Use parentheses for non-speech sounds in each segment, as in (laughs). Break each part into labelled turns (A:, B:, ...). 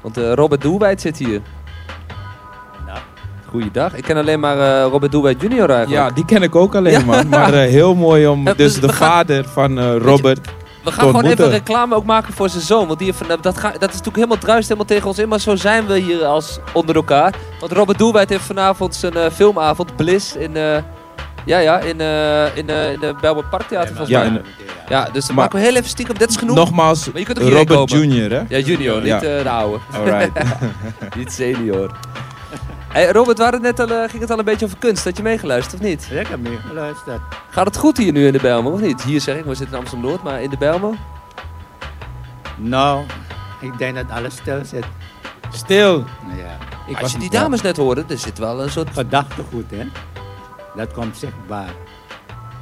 A: Want eh, Robert Doelwijd zit hier.
B: Nou.
A: Goeiedag. Ik ken alleen maar eh, Robert Doelwijd junior eigenlijk.
C: Ja, die ken ik ook alleen, man. Maar eh, heel mooi om...
A: Eh,
C: Dus
A: we
C: de
A: gaan-
C: vader van eh, Robert...
A: We gaan gewoon
C: ontmoeten.
A: even reclame ook maken voor zijn zoon. Want die heeft, van- eh, dat, ga- dat is natuurlijk helemaal druist helemaal tegen ons in. Maar zo zijn we hier als onder elkaar. Want Robert Doelwijd heeft vanavond zijn eh, filmavond Bliss in... eh, ja, ja, in, eh in, eh in de Belmer Parktheater volgens
C: Ja,
A: mij.
C: en-
A: Ja, dus dan
C: Maar-
A: maken we heel even stiekem. Dat is genoeg.
C: Nogmaals,
A: Maar je kunt ook hierheen
C: Robert
A: komen.
C: Junior, hè?
A: Ja, junior, niet
C: Ja.
A: eh, de oude.
C: Alright.
A: Niet senior. Hey, Robert, waar het net al, eh, ging het al een beetje over kunst. Had je meegeluisterd of niet?
B: Ik heb meegeluisterd.
A: Gaat het goed hier nu in de Bijlmer of niet? Hier zeg ik, we zitten in Amsterdam-Noord, maar in de Bijlmer?
B: Nou, ik denk dat alles stil zit.
C: Stil.
B: Ja.
A: Ik,
C: was
A: als je die
C: niet
A: dames net hoorde, er zit wel een soort...
B: Gedachtegoed, hè? Dat komt zichtbaar.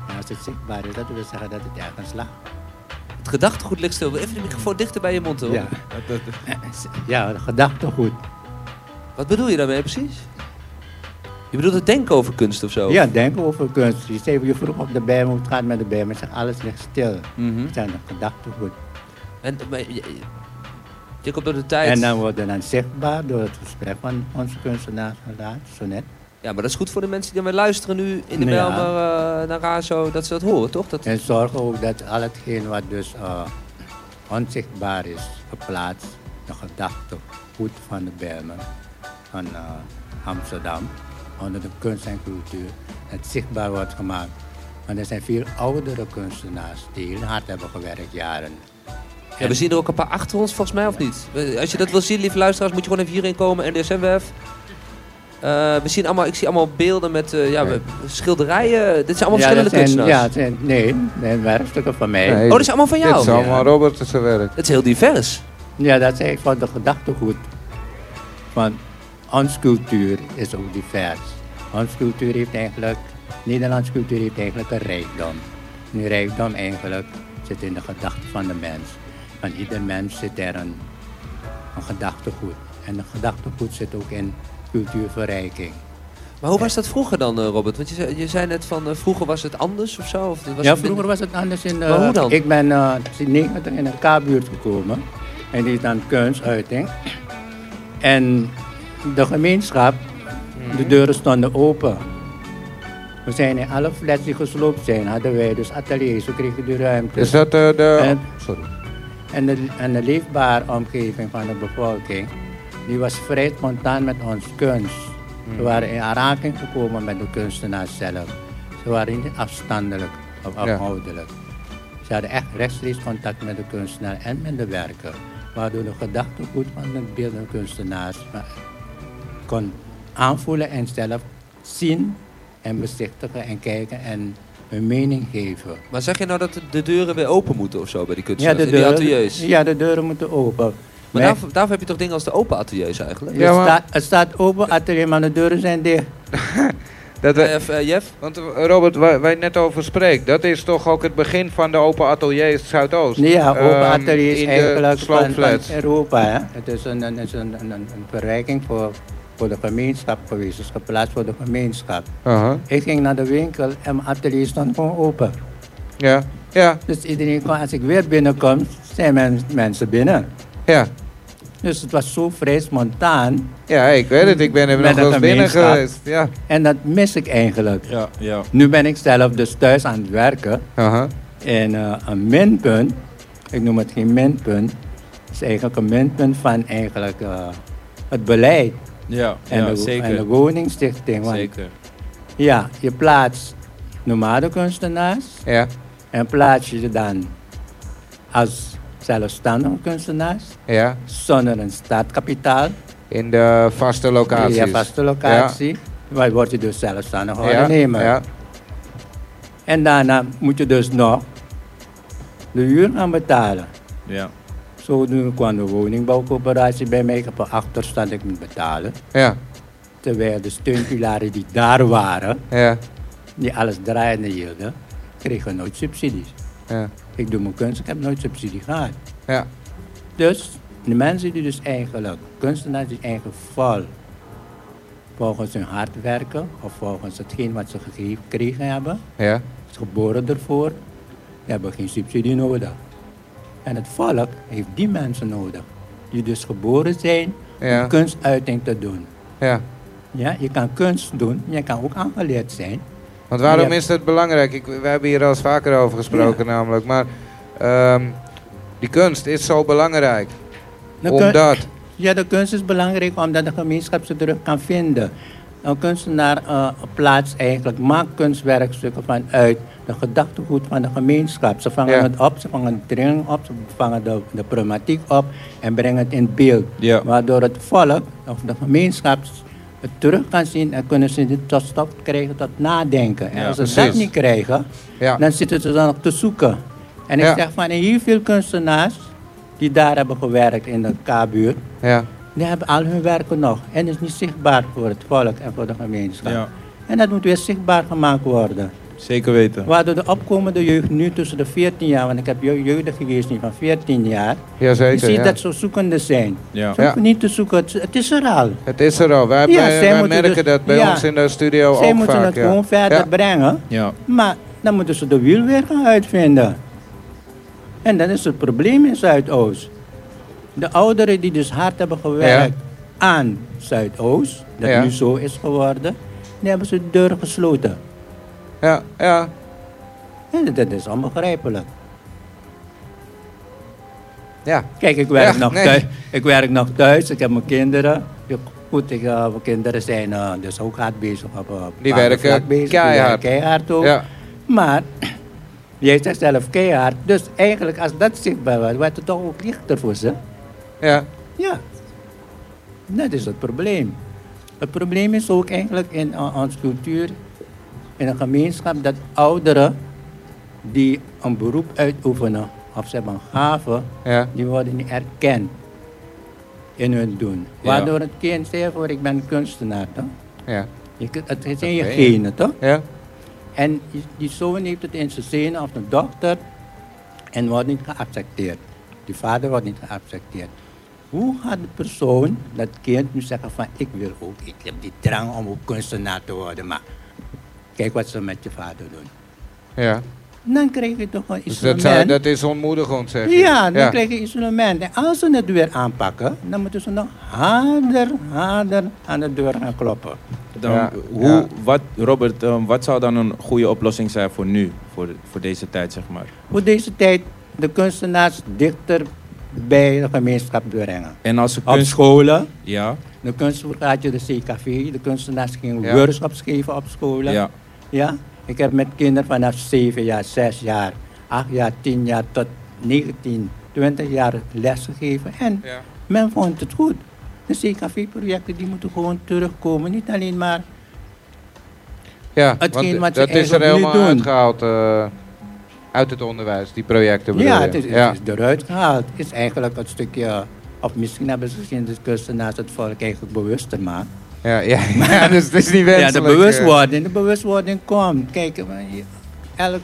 B: En als het zichtbaar is, dat wil zeggen dat het ergens lag.
A: Het gedachtegoed ligt stil. Even de microfoon dichter bij je mond, hoor.
B: Ja, (laughs) ja gedachtegoed.
A: Wat bedoel je daarmee precies? Je bedoelt het denken over kunst of
C: Oh.
A: zo?
B: Ja, denk over kunst. Je zei, je vroeg op de berm hoe het gaat met de berm. maar zegt alles ligt stil.
A: Mhm.
C: Hm?
B: Het zijn de gedachtegoed.
A: En, maar je, je- je komt door de tijd...
B: En nou- dan worden dan zichtbaar door het gesprek van onze kunstenaar vandaag, zo net.
A: Ja, maar dat is goed voor de mensen die dan weer luisteren nu in de
B: Ja.
A: Bijlmer eh, naar Razo. Dat ze dat horen, toch? Dat...
B: En zorgen ook dat al hetgeen wat dus eh, onzichtbaar is geplaatst, de gedachtegoed van de Bijlmer, van eh, Amsterdam, onder de kunst en cultuur, het zichtbaar wordt gemaakt. Want er zijn veel oudere kunstenaars die heel hard hebben gewerkt, jaren.
A: Ja, we zien er ook een paar achter ons, volgens mij, of niet? We- Als je dat wil zien, lieve luisteraars, moet je gewoon even hierin komen. NDSMWF. Eh we zien allemaal, ik zie allemaal beelden met eh, ja, we- schilderijen. Dit zijn allemaal
B: ja, dat
A: verschillende
B: zijn,
A: kunstenaars.
B: ja, dat zijn, nee, nee, werkstukken van mij.
D: Nee.
A: Oh, dit is allemaal van
D: Dit is
A: jou?
D: allemaal Robert zijn werk.
A: Het is heel divers.
B: Ja, dat zei ik van de gedachtegoed. Want ons cultuur is ook divers. Ons cultuur heeft eigenlijk, Nederlands cultuur heeft eigenlijk een rijkdom. En die rijkdom eigenlijk zit in de gedachten van de mens. Van ieder mens zit er een, een gedachtegoed. En een gedachtegoed zit ook in cultuurverrijking.
A: Maar hoe was dat vroeger dan, eh, Robert? Want je zei, je zei net van eh, vroeger was het anders of zo? Of was het
B: ja,
A: minder-
B: vroeger was het anders in de...
A: Maar hoe dan?
B: Ik ben eh, in 90 in een K-buurt gekomen. En die is dan kunstuiting. En de gemeenschap,
A: Mhm.
B: de deuren stonden open. We zijn in alle flats die gesloopt zijn, hadden wij dus ateliers. We kregen de ruimte.
D: Is dat eh, de...
B: En-
D: Sorry.
B: En de, en de leefbare omgeving van de bevolking, die was vrij spontaan met ons kunst. Ze waren in aanraking gekomen met de kunstenaars zelf. Ze waren niet afstandelijk of afhoudelijk. Ze hadden echt rechtstreeks contact met de kunstenaar en met de werker. Waardoor de gedachtegoed van de beeldende kunstenaars eh, kon aanvoelen en zelf zien en bezichtigen en kijken en hun mening geven.
A: Maar zeg je nou dat de deuren weer open moeten of zo bij die kunstenaars? in die ateliers?
B: ja, de deuren moeten open.
A: Maar
B: Wij-
A: daarvoor, daarvoor heb je toch dingen als de open ateliers eigenlijk?
D: Ja,
B: het,
D: maar-
B: staat, het staat open atelier, maar de deuren zijn dicht.
D: Dat, we-
A: Eh, F- eh, Jeff?
D: want eh, Robert, waar wij net over spreken, dat is toch ook het begin van de open atelier Zuidoost?
B: Nee, ja, open
D: Ehm,
B: atelier is
D: in
B: eigenlijk
D: de
B: van, van
D: sloopflats.
B: Europa. Hè? Het is een, een, is een, een, een een verrijking voor, voor de gemeenschap geweest. Het is geplaatst voor de gemeenschap.
D: Aha,
B: Ik ging naar de winkel en mijn atelier stond gewoon open.
D: Ja, ja,
B: Dus iedereen kon, als ik weer binnenkom, zijn men- mensen binnen.
D: ja.
B: Dus het was zo vrij spontaan.
D: Ja, ik weet het. Ik ben er
B: Met
D: nog
B: een
D: wel eens binnen
B: gemeenschap.
D: geweest. Ja.
B: En dat mis ik eigenlijk.
C: Ja, ja.
B: Nu ben ik zelf dus thuis aan het werken.
D: Aha.
B: En eh, een minpunt, ik noem het geen minpunt, is eigenlijk een minpunt van eigenlijk eh, het beleid
C: Ja,
B: en,
C: ja,
B: de,
C: zeker.
B: en de woningstichting. Want,
C: zeker.
B: Ja, je plaatst nomadenkunstenaars
D: Ja,
B: en plaats je ze dan als zelfstandige kunstenaars
D: ja.
B: zonder een startkapitaal,
D: In de vaste locaties.
B: je vaste locatie, maar word je dus zelfstandig
D: Ja, ja,
B: ondernemer.
D: ja.
B: En daarna moet je dus nog de huur gaan betalen.
C: Ja.
B: Zo nu kwam de woningbouwcoöperatie bij mij. Ik heb een achterstand, ik moet betalen.
D: ja,
B: Terwijl de steunpilaren die daar waren,
D: ja,
B: die alles draaiende hielden, kregen nooit subsidies.
D: ja,
B: Ik doe mijn kunst, ik heb nooit subsidie gehad.
D: ja.
B: Dus de mensen die dus eigenlijk, kunstenaars die eigenlijk vol volgens hun hard werken of volgens hetgeen wat ze gegeven- gekregen hebben,
D: ja.
B: is geboren ervoor, die hebben geen subsidie nodig. En het volk heeft die mensen nodig. die dus geboren zijn
D: Ja.
B: om kunstuiting te doen.
D: Ja.
B: Ja, je kan kunst doen, je kan ook aangeleerd zijn.
D: Want waarom
B: Ja.
D: is dat belangrijk? Ik, we hebben hier al eens vaker over gesproken namelijk. Maar ehm, die kunst is zo belangrijk.
B: De kun-
D: omdat...
B: Ja, de kunst is belangrijk omdat de gemeenschap ze terug kan vinden. Een kunstenaar eh, plaatst eigenlijk, maakt kunstwerkstukken vanuit de gedachtegoed van de gemeenschap. Ze vangen
D: Ja.
B: het op, ze vangen de dring op, ze vangen de, de problematiek op en brengen het in beeld.
C: Ja.
B: Waardoor het volk of de gemeenschap het terug kan zien en kunnen ze dit tot stop krijgen, tot nadenken. En
C: Ja,
B: als ze dat
D: precies.
B: niet krijgen,
D: Ja.
B: dan zitten ze dan nog te zoeken. En ik
D: Ja.
B: zeg van heel veel kunstenaars die daar hebben gewerkt in de K-buurt,
D: Ja.
B: die hebben al hun werken nog en is niet zichtbaar voor het volk en voor de gemeenschap.
C: Ja.
B: En dat moet weer zichtbaar gemaakt worden.
C: Zeker weten.
B: Waardoor de opkomende jeugd nu tussen de 14 jaar, want ik heb jeugd- jeugden geweest nu van 14 jaar, je
D: Jazeker,
B: ziet
D: ja.
B: dat ze zoekende zijn.
C: Ja.
B: Ze
D: Ja.
B: hoeven niet te zoeken, het, het is er al.
D: Het is er al.
B: Ja,
D: Wij, wij-
B: zij
D: wij
B: moeten
D: merken
B: dus-
D: dat bij
B: ja.
D: ons in de studio
B: Zij
D: Oh, ook
B: moeten
D: vaak.
B: het
D: ja.
B: gewoon verder
D: Ja.
B: brengen.
C: Ja.
B: Maar dan moeten ze de wiel weer gaan uitvinden. En dat is het probleem in Zuidoost. De ouderen die dus hard hebben gewerkt aan Zuidoost, dat
D: Ja.
B: nu zo is geworden, die hebben ze de deur gesloten.
D: Ja, ja.
B: En dat is onbegrijpelijk.
D: ja.
B: Kijk, ik werk,
D: Ja,
B: nog,
D: nee.
B: thuis. ik werk nog thuis, ik heb mijn kinderen. Ja, Goed, ik, eh, mijn kinderen zijn eh, dus ook hard bezig. Op, eh,
D: Die
B: bepaalde
D: werken
B: vlak bezig. Die
D: keihard.
B: werken keihard ook.
D: Ja.
B: Maar jij zegt zelf keihard. Dus eigenlijk als dat zichtbaar wordt, wordt het toch ook lichter voor ze.
D: ja.
B: Ja. Dat is het probleem. Het probleem is ook eigenlijk in o- onze cultuur, in een gemeenschap, dat ouderen die een beroep uitoefenen of ze hebben een gave,
D: Ja.
B: die worden niet erkend in hun doen.
C: Ja.
B: Waardoor het kind zegt, voor ik ben kunstenaar, toch?
D: Ja.
B: Je, kunt- het is in je
D: ben je.
B: genen, toch?
D: Ja.
B: En die- die zoon heeft het in zijn zenuw of een dochter en wordt niet geaccepteerd. Die vader wordt niet geaccepteerd. Hoe gaat de persoon, dat kind, nu zeggen van ik wil ook, ik heb die drang om ook kunstenaar te worden, maar kijk wat ze met je vader doen.
D: ja.
B: Dan krijg je toch een
D: Dus dat, zou,
B: instrument.
D: dat is ontmoedigend, zeg je.
B: ja, dan krijg je instrument. En als ze het weer aanpakken, dan moeten ze nog harder, harder aan de deur gaan kloppen.
C: Dan,
D: Ja.
C: Hoe,
D: Ja.
C: Wat, Robert, ehm, wat zou dan een goede oplossing zijn voor nu? Voor, voor deze tijd, zeg maar.
B: Hoe deze tijd de kunstenaars dichter bij de gemeenschap brengen.
C: En als ze
B: Op
C: kunst...
B: scholen.
C: Ja,
B: De kunst had je de CKV, de kunstenaars gingen
D: Ja.
B: workshops geven op scholen.
C: ja,
B: Ja? Ik heb met kinderen vanaf 7 jaar, 6 jaar, 8 jaar, 10 jaar tot 19, 20 jaar les gegeven. En
D: Ja.
B: men vond het goed. De CKV-projecten die moeten gewoon terugkomen. Niet alleen maar
D: Ja,
B: Hetgeen
D: want
B: wat ze
D: dat is er
B: eigenlijk nu
D: helemaal
B: doen.
D: uitgehaald eh, uit het onderwijs, die projecten bedoel
B: Ja,
D: je?
B: het is,
D: ja.
B: het is eruit gehaald. Het is eigenlijk het stukje, of misschien hebben ze gezien de kunstenaars het volk eigenlijk bewuster maakt.
D: Ja, ja, (laughs) ja, dus het is
B: Ja,
D: niet wenselijk.
B: de
D: eh.
B: bewustwording, de bewustwording komt. Kijk, eh, je- elk,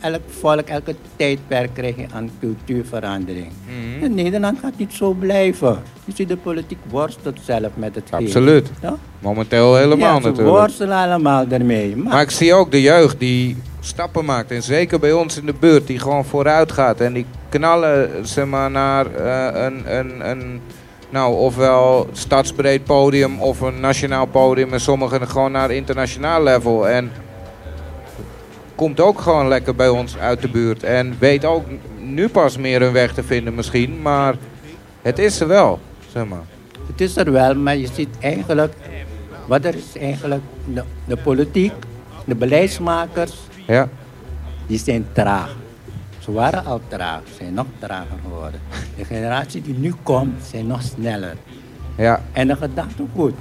B: elk volk, elke tijdperk krijg je aan cultuurverandering.
D: Mhm.
B: En Nederland gaat niet zo blijven. Je ziet de politiek worstelt zelf met het geven.
D: Absoluut.
B: Ja?
D: Momenteel helemaal
B: ja, ze
D: natuurlijk.
B: worstelen allemaal ermee. Maar,
D: Maar ik zie ook de jeugd die stappen maakt. En zeker bij ons in de buurt, die gewoon vooruit gaat. En die knallen zeg maar, naar eh, een, een, een, nou, ofwel stadsbreed podium of een nationaal podium. En sommigen gewoon naar internationaal level. En komt ook gewoon lekker bij ons uit de buurt. En weet ook nu pas meer hun weg te vinden misschien. Maar het is er wel, zeg maar.
B: het is er wel, maar je ziet eigenlijk... Wat er is eigenlijk... De, de politiek, de beleidsmakers,
D: Ja,
B: die zijn traag. Ze waren al traag, ze zijn nog trager geworden. De generatie die nu komt, zijn nog sneller.
D: ja,
B: En de gedachtegoed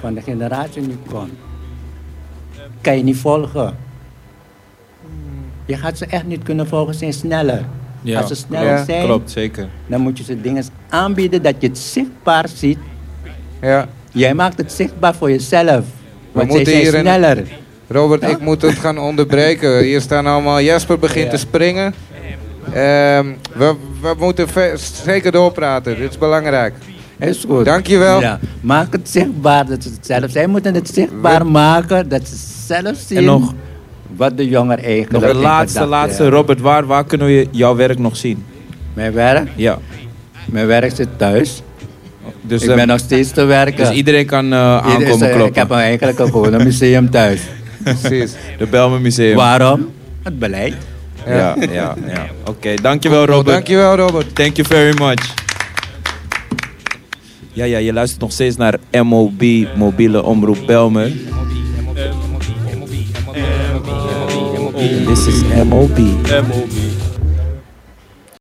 B: van de generatie nu komt, kan je niet volgen. Je gaat ze echt niet kunnen volgen, ze zijn sneller.
C: ja.
B: Als ze sneller
D: Ja.
B: zijn,
C: klopt, zeker.
B: dan moet je ze dingen aanbieden dat je het zichtbaar ziet.
D: ja.
B: Jij maakt het zichtbaar voor jezelf. Want zij
D: moeten
B: zijn
D: hier een-
B: sneller.
D: Robert, ik moet het gaan onderbreken. Hier staan allemaal. Jasper begint te springen. Ehm, we, we moeten ve- zeker doorpraten. Dit is belangrijk.
B: Is goed.
D: Dankjewel.
B: Ja, maak het zichtbaar dat ze het zelf Zij moeten het zichtbaar maken dat ze zelf zien
C: nog-
B: wat de jonger eigenlijk
C: Nog de
B: in
C: laatste,
B: gedachten
C: laatste.
B: heeft.
C: Robert, waar, waar kunnen we jouw werk nog zien?
B: Mijn werk?
C: Ja.
B: Mijn werk zit thuis.
C: Dus,
B: ik
C: eh,
B: ben nog steeds te werken.
C: dus iedereen kan eh,
B: Ieder is,
C: aankomen
B: eh, Ik
C: kloppen.
B: heb eigenlijk een gewoon een museum
C: (laughs)
B: thuis.
D: Precies.
C: De Belmen Museum.
B: Waarom? Het beleid.
C: Ja, ja, ja. Oké, dankjewel Robert.
D: Dankjewel, Robert.
C: Thank you very much. Ja, ja, je luistert nog steeds naar MOB, mobiele omroep Belmer. This is MOB.
E: MOB.